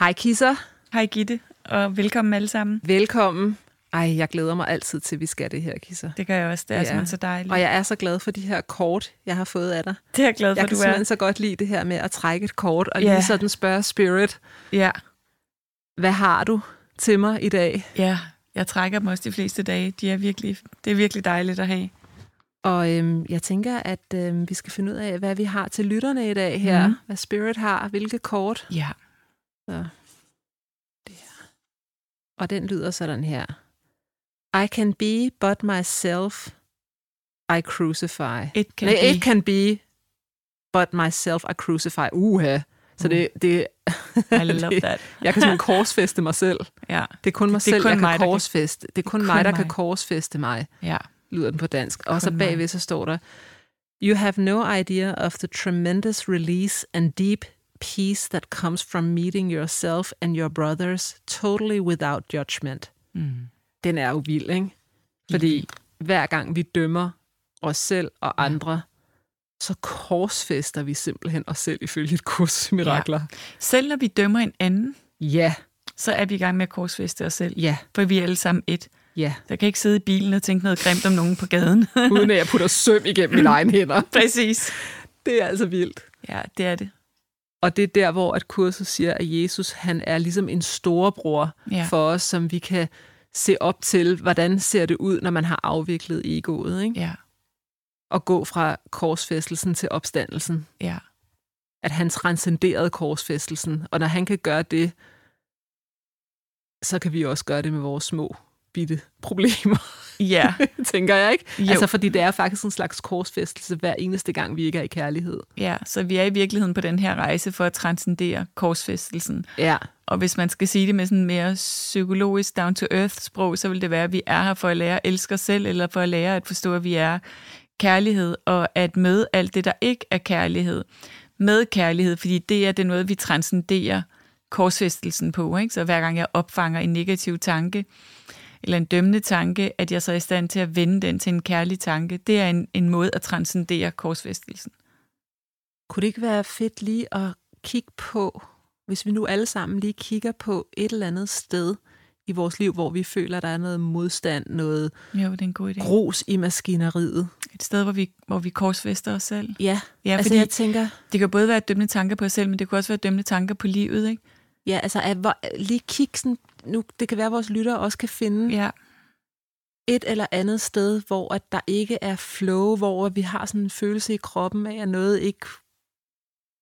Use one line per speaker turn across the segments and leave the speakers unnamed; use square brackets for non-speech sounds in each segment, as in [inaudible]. Hej kisser,
Hej Gitte, og velkommen alle sammen.
velkommen. Ej, jeg glæder mig altid til, at vi skal det her, kisser.
Det gør jeg også, det er
Ja.
ja. simpelthen så dejligt.
Og jeg er så glad for de her kort, jeg har fået af dig.
[laughs] Det er jeg glad for,
Jeg kan
du er.
simpelthen så godt lide det her med at trække et kort og
Ja.
lige sådan spørge Spirit,
Ja,
hvad har du til mig i dag?
ja, jeg trækker dem også de fleste dage. De er virkelig, det er virkelig dejligt at have.
Og øhm, jeg tænker, at øhm, vi skal finde ud af, hvad vi har til lytterne i dag her.
Mhm.
Mm. Hvad Spirit har, hvilke kort.
Ja.
Så. Det her. Og den lyder sådan her. I can be but myself, I crucify.
Et kan
Can Nej,
give.
it can be, but myself I crucify. Uha. Så det, det,
I love [laughs]
det-
that.
jeg kan sådan korsfeste mig selv.
Ja,
Det er kun mig
Det- det er
selv,
kun
jeg
mig, der
kan
kan-
korsfeste. Det er kun
kun
mig, der
mig.
kan korsfeste mig,
ja.
lyder den på dansk. Og så
Kun
bagved så står der, You have no idea of the tremendous release and deep peace that comes from meeting yourself and your brothers totally without judgment.
Mm.
Den er jo vild, ikke? Fordi hver gang vi dømmer os selv og andre, så korsfester vi simpelthen os selv ifølge et kurs [laughs] i mirakler.
Selv når vi dømmer en anden,
Ja,
så er vi i gang med at korsfeste os selv.
ja,
For vi er alle sammen et.
ja.
Der kan ikke sidde i bilen og tænke noget grimt om nogen på [laughs] gaden.
Uden at jeg putter søm igennem mine egne hænder.
Præcis.
[laughs] Det er altså vildt.
Ja, det er det.
Og det er der, hvor at kurset siger, at Jesus han er ligesom en storebror ja.
Ja.
for os, som vi kan se op til, hvordan ser det ud, når man har afviklet egoet, ikke?
Ja,
og gå fra korsfæstelsen til opstandelsen.
ja.
At han transcenderede korsfæstelsen, og når han kan gøre det, så kan vi også gøre det med vores små bitte problemer, [laughs]
Ja,
tænker jeg ikke?
Jo.
Altså, fordi det er faktisk en slags korsfæstelse hver eneste gang, vi ikke er i kærlighed.
ja. Så vi er i virkeligheden på den her rejse for at transcendere korsfæstelsen.
Ja,
Og hvis man skal sige det med sådan mere psykologisk down-to-earth-sprog, så vil det være, at vi er her for at lære at elske os selv, eller for at lære at forstå, at vi er kærlighed, og at møde alt det, der ikke er kærlighed, med kærlighed, fordi det er det noget, vi transcenderer korsfæstelsen på. Ikke? Så hver gang jeg opfanger en negativ tanke, eller en dømmende tanke, at jeg så er i stand til at vende den til en kærlig tanke, det er en, en måde at transcendere korsfæstelsen.
Kunne det ikke være fedt lige at kigge på, hvis vi nu alle sammen lige kigger på et eller andet sted i vores liv, hvor vi føler, der er noget modstand, noget
Jo, det er en god idé.
grus i maskineriet?
Et sted, hvor vi, hvor vi korsfester os selv.
Ja,
Ja,
altså
fordi-
jeg tænker,
Det kan både være dømmende tanker på os selv, men det kan også være dømmende tanker på livet, ikke?
ja, altså at hvor, lige kigge sådan, nu, det kan være, at vores lyttere også kan finde ja.
Ja,
et eller andet sted, hvor at der ikke er flow, hvor vi har sådan en følelse i kroppen af, at noget ikke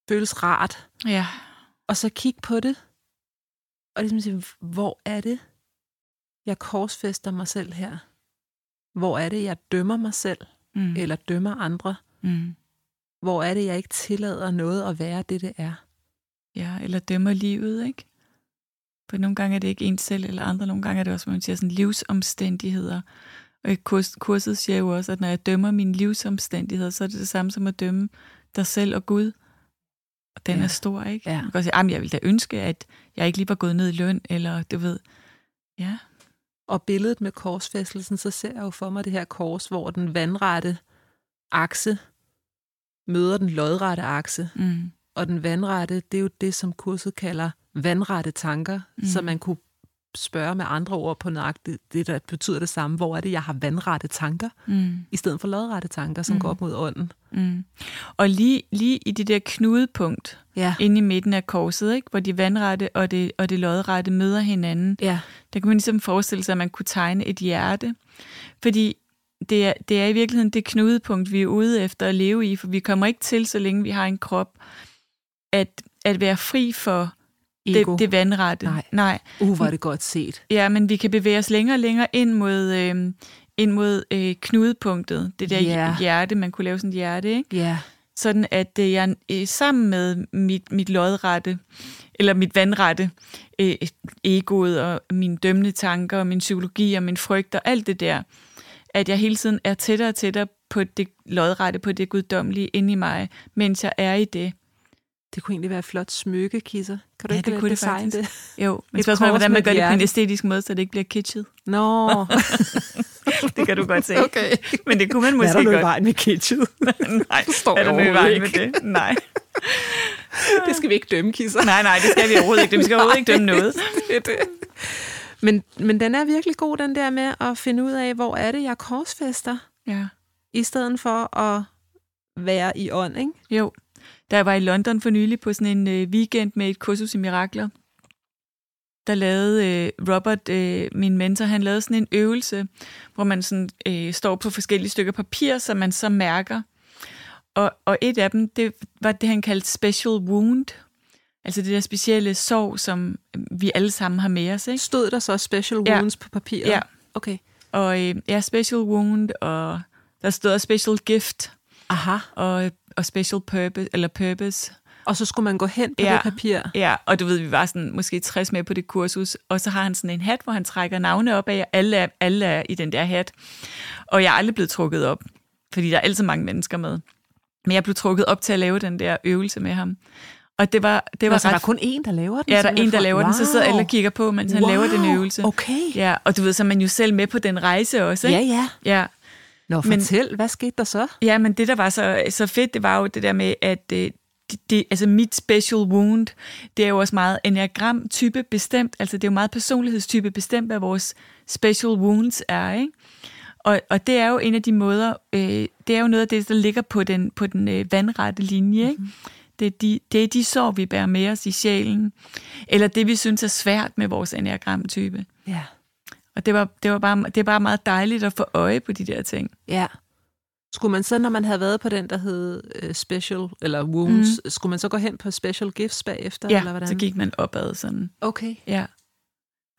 føles rart.
ja,
Og så kigge på det, og ligesom sige, hvor er det, jeg korsfester mig selv her? Hvor er det, jeg dømmer mig selv,
mm,
eller dømmer andre?
mm,
Hvor er det, jeg ikke tillader noget at være det, det er?
ja, eller dømmer livet, ikke? For nogle gange er det ikke en selv eller andre, nogle gange er det også, man siger, sådan livsomstændigheder. Og i kurs, kurset siger jo også, at når jeg dømmer mine livsomstændigheder, så er det det samme som at dømme dig selv og Gud. Og den
Ja.
er stor, ikke?
Ja.
Man kan også sige, "Ej, men jeg ville da ønske, at jeg ikke lige var gået ned i løn, eller du ved, ja,
Og billedet med korsfæstelsen, så ser jeg jo for mig det her kors, hvor den vandrette akse møder den lodrette akse.
mm,
Og den vandrette, det er jo det, som kurset kalder vandrette tanker, mm.
Mm.
så man kunne spørge med andre ord på nøjagtigt det, der betyder det samme. Hvor er det, jeg har vandrette tanker, mm. i stedet for lodrette tanker, som mm. går op mod ånden.
Mm. Og lige, lige i det der knudepunkt
Ja.
inde i midten af korset, ikke? hvor de vandrette og det, og det lodrette møder hinanden,
Ja.
der kan man ligesom forestille sig, at man kunne tegne et hjerte. Fordi det er, det er i virkeligheden det knudepunkt, vi er ude efter at leve i, for vi kommer ikke til, så længe vi har en krop, at, at være fri for det,
Ego.
det vandrette.
Nej.
Nej.
Uh, hvor er det godt set.
Ja, men vi kan bevæge os længere og længere ind mod, øh, ind mod øh, knudepunktet. Det der
Ja.
yeah. hjerte, man kunne lave sådan et hjerte, ikke?
Ja.
sådan at øh, jeg øh, sammen med mit, mit lodrette, eller mit vandrette, øh, egoet og mine dømmende tanker og min psykologi og min frygt og alt det der, at jeg hele tiden er tættere og tættere på det lodrette, på det guddommelige inde i mig, mens jeg er i det.
Det kunne egentlig være et flot smykke, Kisser. Kan du
Ja,
ikke
det
øh,
kunne det
designe det?
Jo, men
Et
spørgsmålet er,
kors
hvordan
med
man
et
gør det på en
hjerte.
æstetisk måde, så det ikke bliver
[laughs]
kitschet.
Nå,
Det kan du godt [laughs] se.
okay.
Men det kunne man
Hvad er
måske
der nu i
godt.
vejen med kitschet?
[laughs] Nej,
Forstår
er der
jeg
noget i vejen med
overhovedet
det? Nej.
[laughs] Det skal vi ikke dømme, Kisser.
nej, nej, det skal vi overhovedet ikke. Vi skal overhovedet ikke dømme
[laughs]
noget.
det er det. Men, men den er virkelig god, den der med at finde ud af, hvor er det, jeg korsfester,
Ja.
i stedet for at være i ånd, ikke?
Jo. Da jeg var i London for nylig på sådan en øh, weekend med et kursus i mirakler, der lavede øh, Robert, øh, min mentor, han lavede sådan en øvelse, hvor man sådan, øh, står på forskellige stykker papir, som man så mærker. Og, og et af dem, det var det, han kaldte special wound. Altså det der specielle sorg, som øh, vi alle sammen har med os. Ikke?
Stod der så special
Ja.
wounds på papiret?
Ja.
Okay.
Og øh, ja, special wound, og der stod også special gift,
Aha.
og, og special purpose, eller purpose.
Og så skulle man gå hen på
Ja.
det papir.
Ja, og du ved, vi var sådan måske 60 med på det kursus, og så har han sådan en hat, hvor han trækker navne op af, og alle er, alle er i den der hat. Og jeg er aldrig blevet trukket op, fordi der er altid mange mennesker med. Men jeg blev trukket op til at lave den der øvelse med ham. Og det var, det
Det
var
var så
ret...
der er kun én, der laver den?
ja, der er
simpelthen
en, der
fra-
laver den, så sidder
Wow.
alle og kigger på, mens han
wow.
laver den øvelse.
Okay.
Ja, og du ved, så er man jo selv med på den rejse også, ikke?
Ja, ja.
ja.
Nå,
Men-
fortæl, men, hvad skete der så?
Ja, men det, der var så, så fedt, det var jo det der med, at øh, det, det, altså mit special wound, det er jo også meget enagram-type bestemt, altså det er jo meget personlighedstype bestemt, hvad vores special wounds er, ikke? Og, og det er jo en af de måder, øh, det er jo noget af det, der ligger på den, på den øh, vandrette linje, ikke? Det er, de, det er de sår, vi bærer med os i sjælen, eller det, vi synes er svært med vores enagramtype.
Ja.
Og det, var, det, var bare, det er bare meget dejligt at få øje på de der ting.
Ja. Skulle man så, når man havde været på den, der hed øh, Special, eller Wounds, mm. skulle man så gå hen på Special Gifts bagefter? eller
Ja,
hvordan?
så gik man opad sådan.
Okay.
Ja.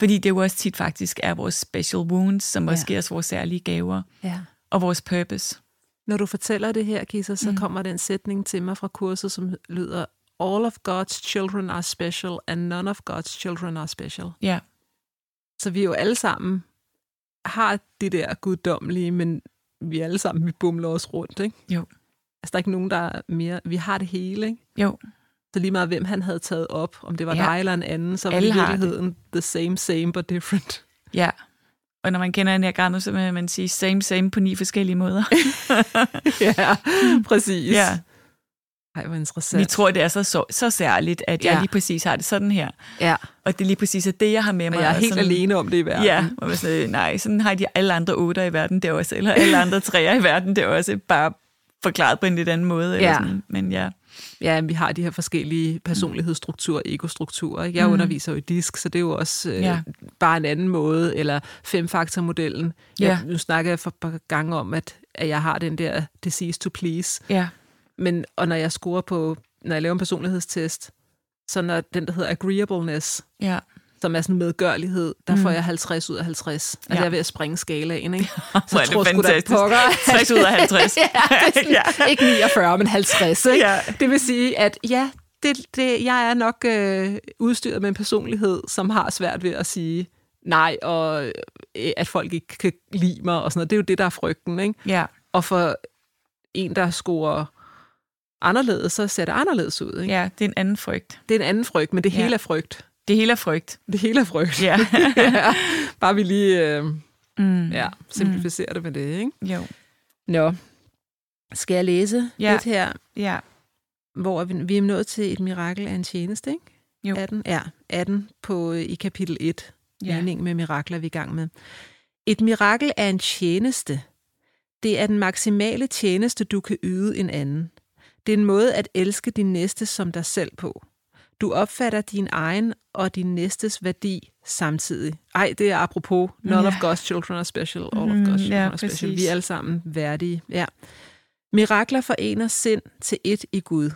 Fordi det jo også tit faktisk er vores special wounds, som også
Ja.
ja. giver os vores særlige gaver
Ja.
og vores purpose.
Når du fortæller det her, Gisa, så mm. kommer den sætning til mig fra kurset, som lyder, All of God's children are special, and none of God's children are special.
Ja,
Så vi jo alle sammen har det der guddommelige, men vi alle sammen, vi bumler os rundt, ikke?
Jo.
Altså, der er ikke nogen, der er mere... Vi har det hele, ikke?
jo,
Så lige meget, hvem han havde taget op, om det var
Ja.
dig eller en anden, så var det i
Alle har det.
virkeligheden the same, same, but different. [laughs]
ja. Og når man kender enagrammet, så vil man sige same, same på ni forskellige måder.
[laughs] ja, præcis.
Mm. Ja.
Ej, hvor interessant.
Vi tror, det er så, så, så særligt, at jeg
Ja.
ja. lige præcis har det sådan her.
ja.
Og det er lige præcis er det, jeg har med mig.
Og jeg er
og
helt
sådan,
alene om det i verden.
Ja, og man sådan, øh, nej, sådan har de alle andre otter i verden det også, eller alle andre træer i verden det også, bare forklaret på en lidt anden måde. Eller
Ja.
sådan. Men ja,
ja, vi har de her
Mm.
forskellige personlighedsstrukturer, ekostrukturer. ikke? Jeg mm. underviser jo i disk, så det er jo også øh, ja.
Ja.
bare en anden måde, eller femfaktormodellen.
Ja.
Jeg, nu snakker jeg for et par gange om, at, at jeg har den der disease to please,
ja,
men, og når jeg scorer på, når jeg laver en personlighedstest, så når den, der hedder agreeableness,
ja.
som er sådan medgørlighed, der mm. får jeg 50 ud af 50. Altså, ja.
Ja.
jeg er ved at sprænge
[laughs]
skalaen, ikke?
Hvor er det
sgu da
fantastisk.
pokker,
[laughs]
at-
60 ud af 50.
[laughs] ja, det er sådan, ja.
Ja.
ikke 49, men 50. Ikke?
Ja.
Det vil sige, at ja, det, det, jeg er nok øh, udstyret med en personlighed, som har svært ved at sige nej, og øh, at folk ikke kan lide mig, og sådan noget. Det er jo det, der er frygten, ikke?
ja.
Og for en, der scorer anderledes, så ser det anderledes ud, ikke?
Ja, det er en anden frygt.
Det er en anden frygt, men det
Ja.
hele er frygt.
Det hele er frygt.
Det hele er frygt. [laughs]
Ja.
ja. Bare vi lige øh,
[laughs] Mm.
ja, simplificerer mm. det med det, ikke?
Jo.
Nå. Skal jeg læse
Ja.
lidt her?
Ja.
hvor er vi, vi er nået til et mirakel af en tjeneste, ikke?
Jo.
18, ja, 18 på, øh, i kapitel 1. ja.
Ja.
meningen med mirakler, vi er i gang med. Et mirakel er en tjeneste. Det er den maksimale tjeneste, du kan yde en anden. Det er en måde at elske din næste som dig selv på. Du opfatter din egen og din næstes værdi samtidig. Ej, det er apropos. None
Ja.
of God's children are special. All of
Mm,
God's
ja,
children are special. Vi
præcis.
er alle sammen værdige. Ja. Mirakler forener sind til et i Gud.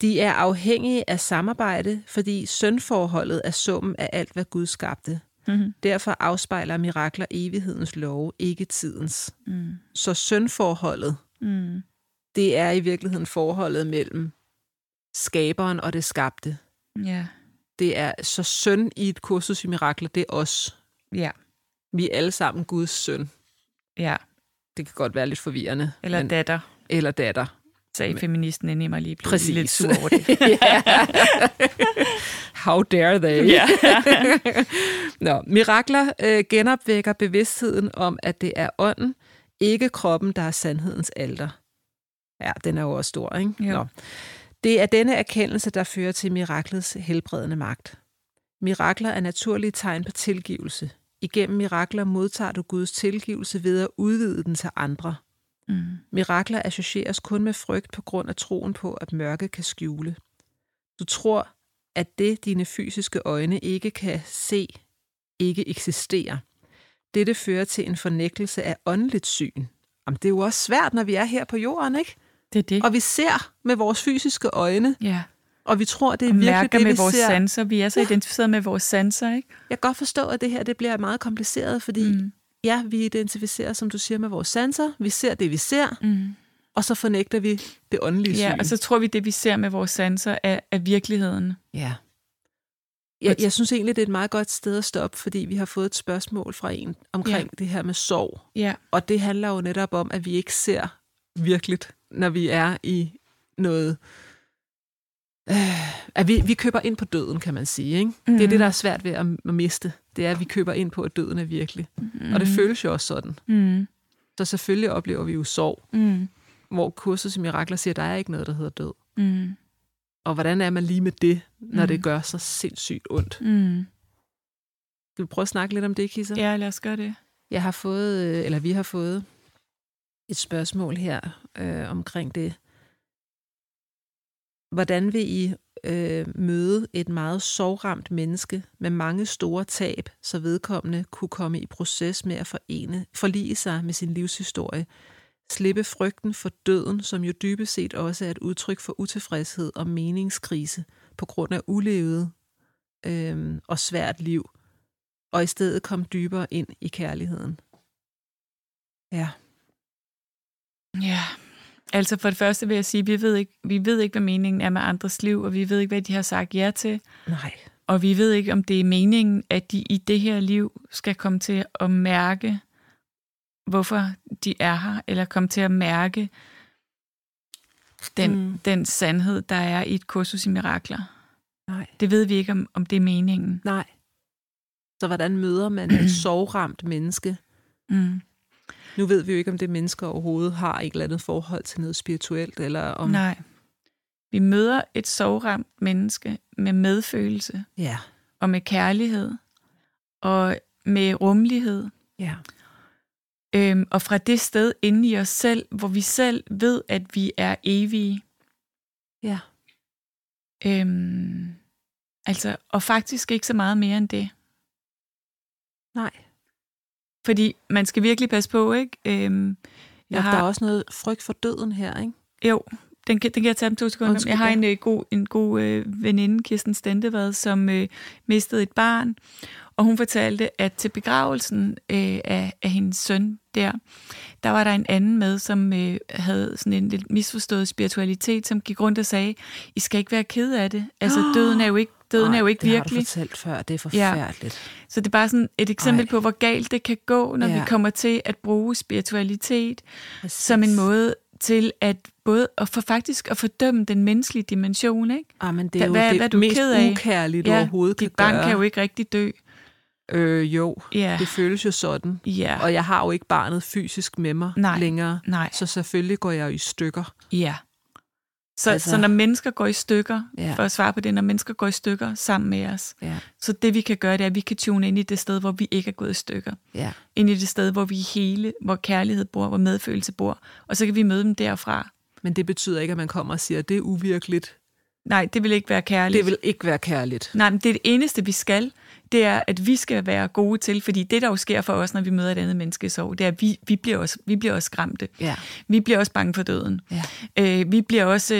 De er afhængige af samarbejde, fordi sønforholdet er summen af alt, hvad Gud skabte.
Mm-hmm.
Derfor afspejler mirakler evighedens love, ikke tidens.
Mm.
Så sønforholdet,
Mm.
det er i virkeligheden forholdet mellem skaberen og det skabte.
Ja.
Det er så søn i et kursus i mirakler, det er os.
ja,
Vi er alle sammen Guds søn.
ja.
Det kan godt være lidt forvirrende.
Eller
men,
datter,
eller datter.
sagde
Men-
feministen inde i mig lige blev
Præcis.
lidt sur over det.
[laughs] Ja. How dare they?
Ja.
Nå, mirakler øh, genopvækker bevidstheden om, at det er ånden, ikke kroppen, der er sandhedens alter. Ja, den er jo også stor, ikke?
Jo.
Det er denne erkendelse, der fører til miraklets helbredende magt. Mirakler er naturlige tegn på tilgivelse. Igennem mirakler modtager du Guds tilgivelse ved at udvide den til andre.
Mm.
Mirakler associeres kun med frygt på grund af troen på, at mørke kan skjule. Du tror, at det, dine fysiske øjne ikke kan se, ikke eksisterer. Dette fører til en fornægtelse af åndeligt syn. Jamen, det er jo også svært, når vi er her på jorden, ikke?
Det er det.
Og vi ser med vores fysiske øjne,
ja.
og vi tror, det er
Og
virkelig
mærker
det,
med
vi
vores
ser.
sanser. Vi er så identificeret med vores sanser, ikke?
Jeg kan godt forstå, at det her det bliver meget kompliceret, fordi mm. ja, vi identificerer, som du siger, med vores sanser. Vi ser det, vi ser,
Mm.
og så fornægter vi det åndelige
Ja,
syn.
og så tror vi, det vi ser med vores sanser er, er virkeligheden.
Ja. Jeg, jeg synes egentlig, det er et meget godt sted at stoppe, fordi vi har fået et spørgsmål fra en omkring ja. det her med sorg.
Ja,
Og det handler jo netop om, at vi ikke ser virkeligt, når vi er i noget... Øh, at vi, vi køber ind på døden, kan man sige. Ikke? Mm. Det er det, der er svært ved at, at miste. Det er, at vi køber ind på, at døden er virkelig. Mm.
Mhm.
Og det føles jo også sådan.
Mm.
Så selvfølgelig oplever vi jo sorg,
Mm.
hvor kurset i mirakler siger, at der er ikke noget, der hedder død.
Mm.
Og hvordan er man lige med det, når mm.
Mm.
det gør så sindssygt ondt?
Mm.
Skal vi prøve at snakke lidt om det, Kisser?
Ja, lad os gøre det.
Jeg har fået, øh, eller vi har fået, et spørgsmål her øh, omkring det. Hvordan vil I øh, møde et meget sorgramt menneske med mange store tab, så vedkommende kunne komme i proces med at forene, forlige sig med sin livshistorie, slippe frygten for døden, som jo dybest set også er et udtryk for utilfredshed og meningskrise på grund af ulevet øh, og svært liv, og i stedet komme dybere ind i kærligheden. Ja.
Ja. Altså for det første vil jeg sige, at vi ved, ikke, vi ved ikke, hvad meningen er med andres liv, og vi ved ikke, hvad de har sagt ja til,
Nej.
og vi ved ikke, om det er meningen, at de i det her liv skal komme til at mærke, hvorfor de er her, eller komme til at mærke den,
Mm.
mm. den sandhed, der er i et kursus i mirakler.
Nej.
Det ved vi ikke, om, om det er meningen.
Nej. Så hvordan møder man et sovramt menneske?
Mm.
Nu ved vi jo ikke, om det menneske overhovedet har et eller andet forhold til noget spirituelt, eller om...
Nej. Vi møder et sovramt menneske med medfølelse
Ja.
og med kærlighed og med rummelighed.
Ja.
Øhm, og fra det sted inde i os selv, hvor vi selv ved, at vi er evige.
Ja.
Øhm, altså, og faktisk ikke så meget mere end det.
Nej.
Fordi man skal virkelig passe på, ikke? Øhm,
Jeg har... Der er også noget frygt for døden her, ikke?
Jo, den kan, den kan jeg tage om to sekunder.
Undskyld,
jeg har
ja.
en øh, god, en god øh, veninde, Kirsten Stentevad, som øh, mistede et barn, og hun fortalte, at til begravelsen øh, af, af hendes søn der, der var der en anden med, som øh, havde sådan en lidt misforstået spiritualitet, som gik rundt og sagde, I skal ikke være ked af det. Altså,
[gasps]
døden er jo ikke, døden er jo ikke
det
virkelig.
har du fortalt før. Det er forfærdeligt. Ja.
Så det er bare sådan et eksempel
Ej.
Ej. på, hvor galt det kan gå, når
Ja.
vi kommer til at bruge spiritualitet som en måde til at både at for faktisk at fordømme den menneskelige dimension, ikke?
Ah, men det er
Hva-
jo
hvad-
det
hvad er du
mest
ked af?
ukærlige, du overhovedet kan
dit barn
gøre.
kan jo ikke rigtig dø.
Øh, jo,
Ja.
det føles jo sådan.
Ja.
Og jeg har jo ikke barnet fysisk med mig
Nej.
længere.
Nej.
Så selvfølgelig går jeg jo i stykker.
Ja. Så, altså,
Altså-
så når mennesker går i stykker,
Ja.
ja. for at svare på det, når mennesker går i stykker sammen med os,
Ja,
så det vi kan gøre, det er, at vi kan tune ind i det sted, hvor vi ikke er gået i stykker.
ja,
Ind i det sted, hvor vi er hele, hvor kærlighed bor, hvor medfølelse bor. Og så kan vi møde dem derfra.
men det betyder ikke, at man kommer og siger, at det er uvirkeligt.
Nej, det vil ikke være kærligt.
Det vil ikke være kærligt.
Nej, men det er det eneste, vi skal, det er, at vi skal være gode til, fordi det, der jo sker for os, når vi møder et andet menneske i sorg, det er, at vi, vi, bliver, også, vi bliver også skræmte.
Ja.
Vi bliver også bange for døden.
Ja.
Øh, vi bliver også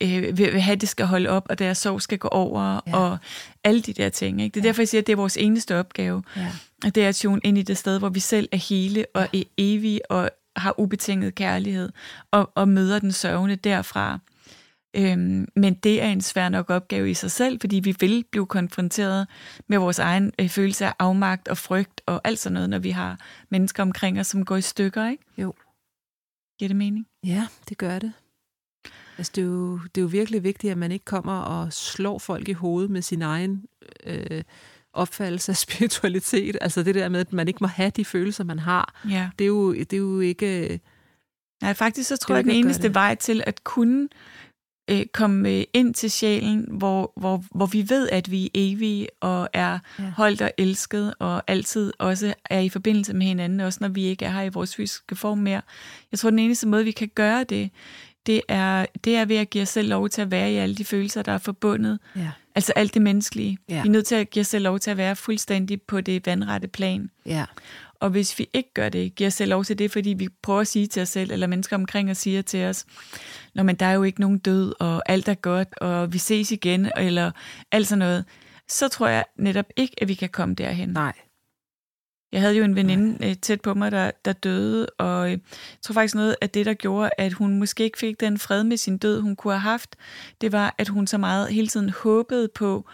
øh, øh, ved at have, at det skal holde op, og deres sorg skal gå over,
Ja.
ja. og alle de der ting. Ikke? Det er ja. derfor, jeg siger, at det er vores eneste opgave.
Ja.
Og det er at tune ind i det sted, hvor vi selv er hele og er evige og har ubetinget kærlighed, og, og møder den sørgende derfra. Øhm, men det er en svær nok opgave i sig selv, fordi vi vil blive konfronteret med vores egen øh, følelse af afmagt og frygt og alt sådan noget, når vi har mennesker omkring os, som går i stykker, ikke?
Jo.
Giver det mening?
Ja, det gør det. Altså, det, er jo, det er jo virkelig vigtigt, at man ikke kommer og slår folk i hovedet med sin egen øh, opfattelse af [laughs] spiritualitet. Altså det der med, at man ikke må have de følelser, man har.
Ja.
Det er jo, det er jo ikke...
Nej, faktisk så tror
Det
jeg,
er
at den
ikke at gøre
eneste
det.
vej til at kunne øh, komme øh, ind til sjælen, hvor, hvor, hvor vi ved, at vi er evige og er
Ja.
ja. holdt og elsket, og altid også er i forbindelse med hinanden, også når vi ikke er her i vores fysiske form mere. Jeg tror, den eneste måde, vi kan gøre det, det er, det er ved at give os selv lov til at være i alle de følelser, der er forbundet.
Ja,
Altså alt det menneskelige.
Ja.
Vi er nødt til at give os selv lov til at være fuldstændig på det vandrette plan.
ja,
Og hvis vi ikke gør det, giver os selv lov til det, fordi vi prøver at sige til os selv, eller mennesker omkring os siger til os, Nå, men der er jo ikke nogen død, og alt er godt, og vi ses igen, eller alt sådan noget, så tror jeg netop ikke, at vi kan komme derhen.
nej.
Jeg havde jo en veninde øh, tæt på mig, der, der døde, og øh, jeg tror faktisk noget af det, der gjorde, at hun måske ikke fik den fred med sin død, hun kunne have haft, det var, at hun så meget hele tiden håbede på,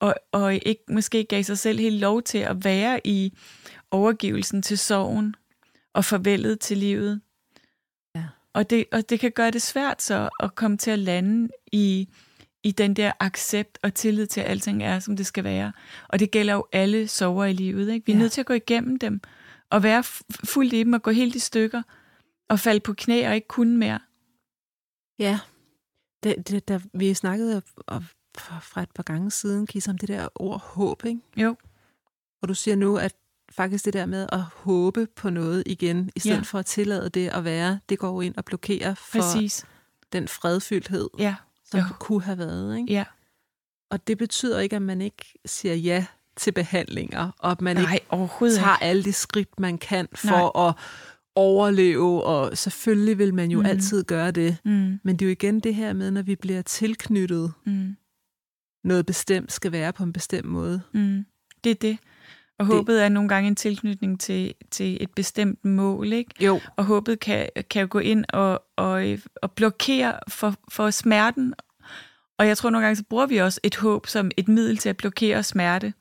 og, og ikke måske gav sig selv helt lov til at være i overgivelsen til sorgen og farvelet til livet.
Ja.
Og, det, og det kan gøre det svært så at komme til at lande i, i den der accept og tillid til, at alting er, som det skal være. Og det gælder jo alle sover i livet. Ikke? Vi er
Ja.
nødt til at gå igennem dem, og være fu- fuldt i dem, og gå helt i stykker, og falde på knæ og ikke kunne mere.
Ja, det, det, der, vi snakkede om, fra et par gange siden, Kis, om det der ord håb, ikke?
Jo.
Og du siger nu, at faktisk det der med at håbe på noget igen, i stedet
Ja.
for at tillade det at være, det går jo ind og blokerer for
Præcis.
den fredfyldthed,
Ja,
som
Jo.
jo. kunne have været. Ikke?
ja.
Og det betyder ikke, at man ikke siger ja til behandlinger, og at man Nej,
Nej, overhovedet
ikke tager
ikke.
alle de skridt, man kan for Nej. at overleve, og selvfølgelig vil man jo mm.
Mhm.
altid gøre det.
Mm,
Men det er jo igen det her med, når vi bliver tilknyttet
mm,
noget bestemt, skal være på en bestemt måde.
mm. Det er det. Og
Det-
håbet er nogle gange en tilknytning til, til et bestemt mål, ikke?
Jo.
Og håbet kan, kan jo gå ind og, og, øh, og blokere for, for smerten. Og jeg tror nogle gange, så bruger vi også et håb som et middel til at blokere smerte.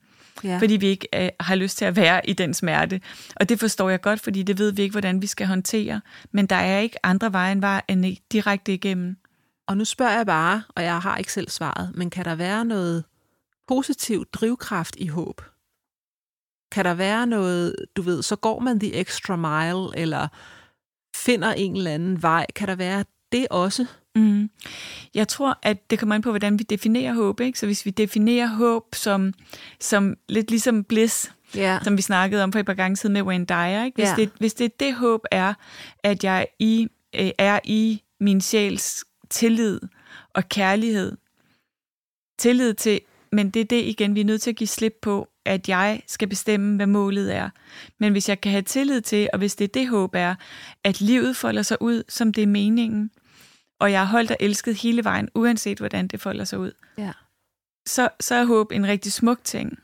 Ja.
fordi vi ikke øh, har lyst til at være i den smerte. Og det forstår jeg godt, fordi det ved vi ikke, hvordan vi skal håndtere. Men der er ikke andre veje end, var, end i- direkte igennem.
Og nu spørger jeg bare, og jeg har ikke selv svaret, men kan der være noget positiv drivkraft i håb? Kan der være noget, du ved, så går man the extra mile, eller finder en eller anden vej? Kan der være det også?
Mm. Jeg tror, at det kommer an på, hvordan vi definerer håb. Ikke? Så hvis vi definerer håb som, som lidt ligesom bliss,
Ja.
som vi snakkede om for et par gange siden med Wayne Dyer. Ikke? Hvis,
Ja.
ja. det, hvis det det håb er, at jeg i, øh, er i min sjæls tillid og kærlighed, tillid til, men det er det igen, vi er nødt til at give slip på, at jeg skal bestemme, hvad målet er. Men hvis jeg kan have tillid til, og hvis det det håb er, at livet folder sig ud, som det er meningen, og jeg har holdt og elsket hele vejen, uanset hvordan det folder sig ud,
ja.
så, så er håb en rigtig smuk ting.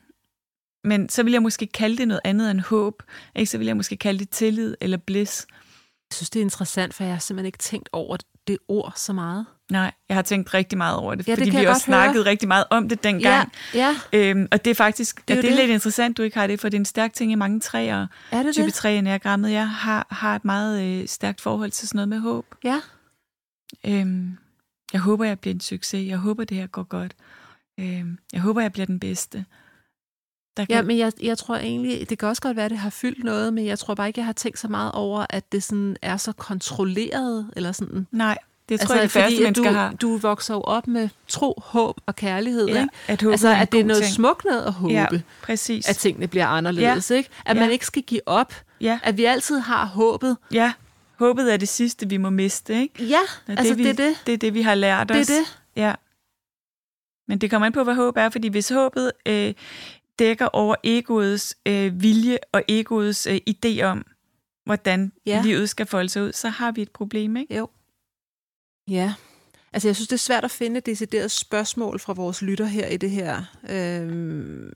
Men så vil jeg måske kalde det noget andet end håb. Ikke? Så vil jeg måske kalde det tillid eller bliss.
Jeg synes, det er interessant, for jeg har simpelthen ikke tænkt over det ord så meget.
Nej, jeg har tænkt rigtig meget over det,
Ja, det
fordi
kan
vi
jeg
også
godt høre.
snakkede rigtig meget om det dengang.
ja.
Øhm, og det er faktisk
Det
det
er
er,
jo
det er
det.
lidt interessant, du ikke har det, for det er en stærk ting i mange træer.
Er det
Type
det?
3-enagrammet, jeg har, har et meget øh, stærkt forhold til sådan noget med håb.
Ja.
Øhm, jeg håber, jeg bliver en succes. Jeg håber, det her går godt. Øhm, jeg håber, jeg bliver den bedste. Der kan,
Ja, men jeg, jeg tror egentlig, det kan også godt være, at det har fyldt noget, men jeg tror bare ikke, jeg har tænkt så meget over, at det sådan er så kontrolleret, eller sådan
Nej, Det tror altså, jeg, de færreste
fordi, at
mennesker
du,
har.
du vokser jo op med tro, håb og kærlighed.
Ja,
ikke?
at håbe
altså,
er en
at det er
god
noget
ting.
smukt noget at håbe,
Ja,
ja.
præcis.
at tingene bliver anderledes. Ikke? At
Ja.
man ikke skal give op.
ja,
At vi altid har håbet.
ja. Håbet er det sidste, vi må miste, ikke?
Ja,
Når
altså
vi,
det er det.
det er det, vi har lært
Det er
os.
det.
Ja. Men det kommer an på, hvad håb er, fordi hvis håbet øh, dækker over egoets øh, vilje og egoets øh, idé om, hvordan
Ja.
ja. livet skal folde sig ud, så har vi et problem, ikke?
Ja. Altså, jeg synes, det er svært at finde et decideret spørgsmål fra vores lytter her i det her. Øhm,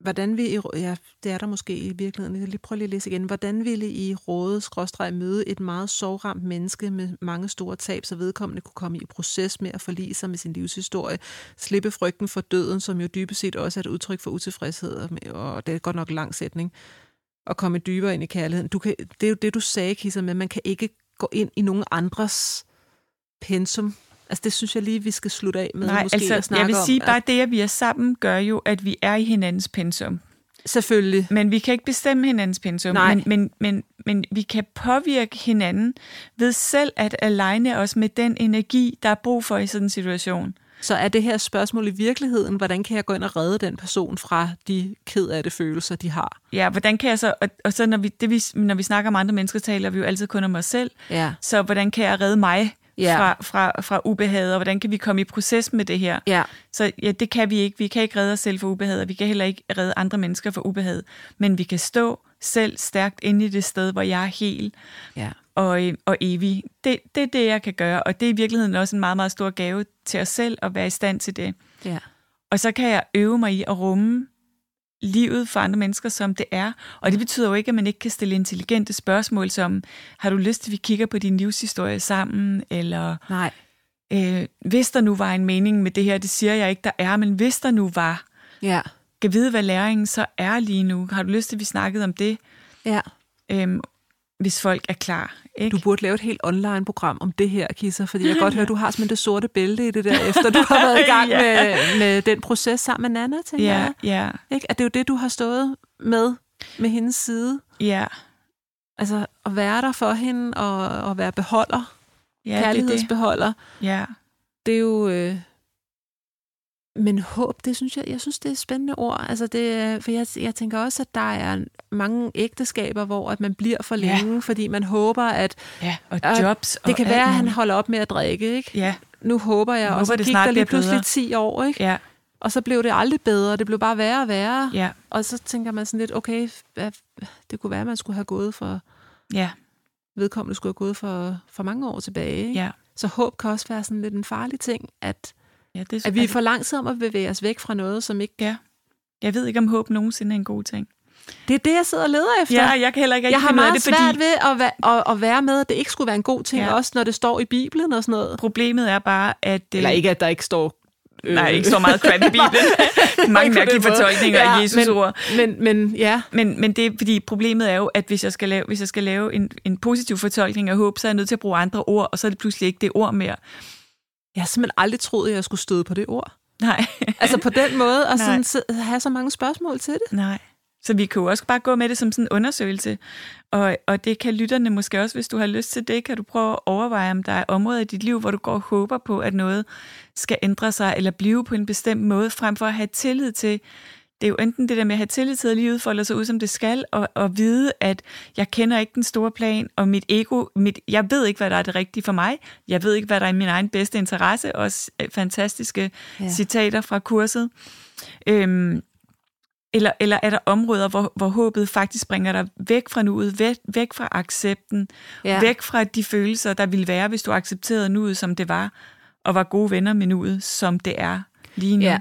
hvordan vi... Ja, det er der måske i virkeligheden. Jeg kan lige prøve lige at læse igen. Hvordan ville I råde skråstreg møde et meget sorgramt menneske med mange store tab, så vedkommende kunne komme i proces med at forlige sig med sin livshistorie, slippe frygten for døden, som jo dybest set også er et udtryk for utilfredshed, og- og det er godt nok en lang sætning, og komme dybere ind i kærligheden. Du kan, det er jo det, du sagde, Kisser, med, at man kan ikke gå ind i nogen andres pensum. Altså det synes jeg lige, vi skal slutte af med.
Nej,
måske
altså,
at snakke
jeg vil
om,
sige
at-
bare, det, at vi er sammen, gør jo, at vi er i hinandens pensum.
Selvfølgelig.
Men vi kan ikke bestemme hinandens pensum.
Nej.
Men, men, men, men vi kan påvirke hinanden ved selv at aligne os med den energi, der er brug for i sådan en situation.
Så er det her spørgsmål i virkeligheden, hvordan kan jeg gå ind og redde den person fra de ked af det følelser, de har?
Ja, hvordan kan jeg så... Og, og så når vi, det, vi, når vi snakker om andre mennesker, taler vi jo altid kun om os selv.
Ja.
Så hvordan kan jeg redde mig
Ja.
fra, fra, fra ubehaget, og hvordan kan vi komme i proces med det her?
Ja.
Så ja, det kan vi ikke. Vi kan ikke redde os selv for ubehaget, og vi kan heller ikke redde andre mennesker for ubehaget. Men vi kan stå selv stærkt inde i det sted, hvor jeg er hel
ja.
og, øh, og evig. Det, det er det, jeg kan gøre, og det er i virkeligheden også en meget, meget stor gave til os selv at være i stand til det.
ja.
Og så kan jeg øve mig i at rumme livet for andre mennesker, som det er. Og det betyder jo ikke, at man ikke kan stille intelligente spørgsmål som, har du lyst til, at vi kigger på din livshistorie sammen? Eller,
Nej.
øh, hvis der nu var en mening med det her, det siger jeg ikke, der er, men hvis der nu var,
Ja.
kan vide, hvad læringen så er lige nu. Har du lyst til, at vi snakkede om det,
Ja.
øhm, hvis folk er klar? Ikke?
Du burde lave et helt online-program om det her, Kisser, fordi jeg kan godt høre, du har simpelthen det sorte bælte i det der, efter du har været i
[laughs]
gang
Ja.
med, med den proces sammen med Nana, tænker
ja,
jeg.
ja,
Ikke? At det er jo det, du har stået med, med hendes side.
ja.
Altså at være der for hende, og, og være beholder,
Ja,
ja, kærlighedsbeholder.
Ja.
det er jo... Øh... Men håb, det synes jeg, jeg synes, det er et spændende ord. Altså det, er- for jeg, jeg tænker også, at der er mange ægteskaber, hvor at man bliver for
Ja.
længe, ja. fordi man håber, at
ja, og
Og
jobs.
det
og
kan
alt
være, at han
muligt.
holder op med at drikke. Ikke?
Ja,
Nu håber jeg,
Jeg
og
håber,
så
det
gik
snart
der lige
bliver
pludselig
bedre.
10 år, ikke?
ja,
og så blev det aldrig bedre, det blev bare værre og værre.
ja,
Og så tænker man sådan lidt, okay, hvad, det kunne være, at man skulle have gået for,
ja,
vedkommende skulle have gået for, for mange år tilbage. Ikke?
ja.
Så håb kan også være sådan lidt en farlig ting, at
ja det,
At vi er for langsomme at bevæge os væk fra noget, som ikke...
Ja. Jeg ved ikke, om håb nogensinde er en god ting.
Det er det, jeg sidder og leder efter.
Ja, jeg kan heller ikke
jeg har
finde ud af
meget
det,
svært
fordi
ved at, væ- at, at være med, at det ikke skulle være en god ting,
Ja.
også når det står i Bibelen og sådan noget.
problemet er bare, at... øh,
at der ikke står... Øh,
Nej, ikke så [laughs] meget kvant i Bibelen. Mange
Ikke på
mærkelige
den måde.
fortolkninger
Ja,
af Jesus'
men-
ord.
[laughs] Men, men ja,
Men, men det er, fordi problemet er jo, at hvis jeg skal lave, hvis jeg skal lave en, en positiv fortolkning af håb, så er jeg nødt til at bruge andre ord, og så er det pludselig ikke det ord mere.
jeg har simpelthen aldrig troet, at jeg skulle støde på det ord.
Nej,
Altså på den måde, og
Nej.
sådan, så, have så mange spørgsmål til det.
nej. Så vi kan jo også bare gå med det som sådan en undersøgelse, og, og det kan lytterne måske også, hvis du har lyst til det, kan du prøve at overveje, om der er områder i dit liv, hvor du går og håber på, at noget skal ændre sig, eller blive på en bestemt måde, frem for at have tillid til, det er jo enten det der med at have tillid til, at livet folder sig ud, som det skal, og, og vide, at jeg kender ikke den store plan, og mit ego, mit, jeg ved ikke, hvad der er det rigtige for mig. Jeg ved ikke, hvad der er i min egen bedste interesse. Også øh, fantastiske
Ja.
ja. citater fra kurset. Øhm, eller, eller er der områder, hvor, hvor håbet faktisk bringer dig væk fra nuet, væk, væk fra accepten,
Ja.
ja. væk fra de følelser, der ville være, hvis du accepterede nuet, som det var, og var gode venner med nuet, som det er lige nu.
Ja.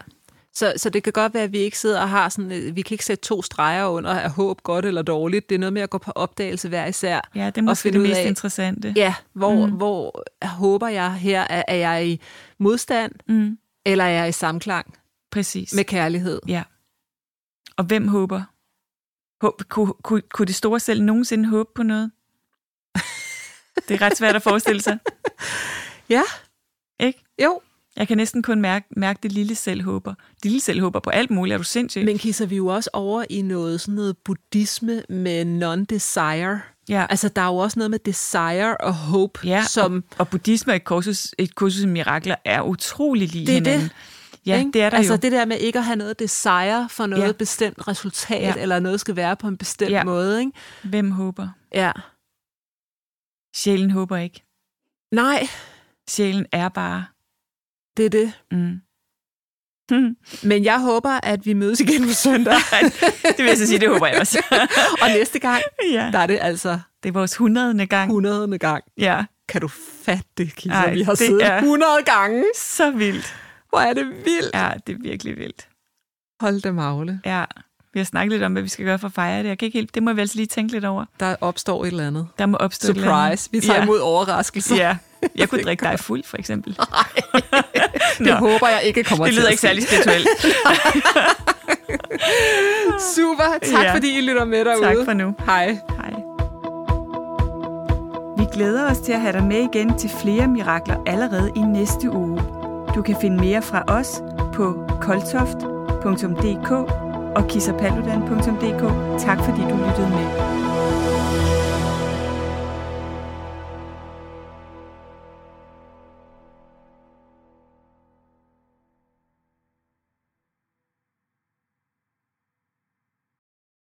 Så, så det kan godt være, at vi ikke sidder og har sådan... øh, Vi kan ikke sætte to streger under, er håb godt eller dårligt. Det er noget med at gå på opdagelse hver især.
Ja, det er
Og
måske
finde
det
ud
mest
af-
interessante.
Ja, hvor, mm. hvor håber jeg her, er, er jeg i modstand,
Mm,
eller er jeg i samklang
præcis.
med kærlighed?
Ja. Og hvem håber? Håb, kunne, kunne, kunne det store selv nogensinde håbe på noget? Det er ret svært at forestille sig,
[laughs] Ja,
ikke?
jo.
Jeg kan næsten kun mærke, mærke det lille selv håber. Det lille selv håber på alt muligt. Er du sindssyg?
Men kisser vi er jo også over i noget sådan noget buddhisme med non-desire.
Ja.
Altså, der er jo også noget med desire og hope,
Ja,
som...
og, og buddhisme og et kursus, et kursus i mirakler er utrolig lige
Det er
hinanden. Ja,
ikke?
det er der
altså
jo.
det der med ikke at have noget desire for noget
Ja.
ja. bestemt resultat,
Ja.
ja. eller noget skal være på en bestemt
Ja.
ja. måde, ikke?
Hvem håber?
Ja.
Sjælen håber ikke.
Nej,
Sjælen er bare.
det er det.
Mm. [laughs] Hmm.
Men jeg håber, at vi mødes igen på søndag.
det vil jeg så sige, det håber jeg også.
[laughs] og næste gang,
ja.
der er det altså
Det er vores hundredende gang.
100. gang.
Ja,
Kan du fatte det, Kisa?
Ej,
vi har
det
siddet
er-
er... 100 gange.
så vildt.
Hvor er det vildt.
Ja, det er virkelig vildt.
Hold da magle.
Ja, vi har snakket lidt om, hvad vi skal gøre for at fejre det. Jeg kan ikke helt, det må vi altså lige tænke lidt over.
Der opstår et eller andet.
Der må opstå et eller andet.
Surprise. Vi tager
ja.
imod overraskelser.
[laughs] Ja, jeg kunne drikke dig fuld, for eksempel.
Det
Nå.
håber jeg ikke kommer
Det
til
lyder
at
ikke
ske.
særlig
[laughs]
spirituelt.
Super. Tak
Ja.
ja. fordi I lytter med derude.
Tak for nu.
Hej.
Hej. Vi glæder os til at have dig med igen til flere mirakler allerede i næste uge. Du kan finde mere fra os på koltoft.dk og kissapalludan.dk. Tak fordi du lyttede med.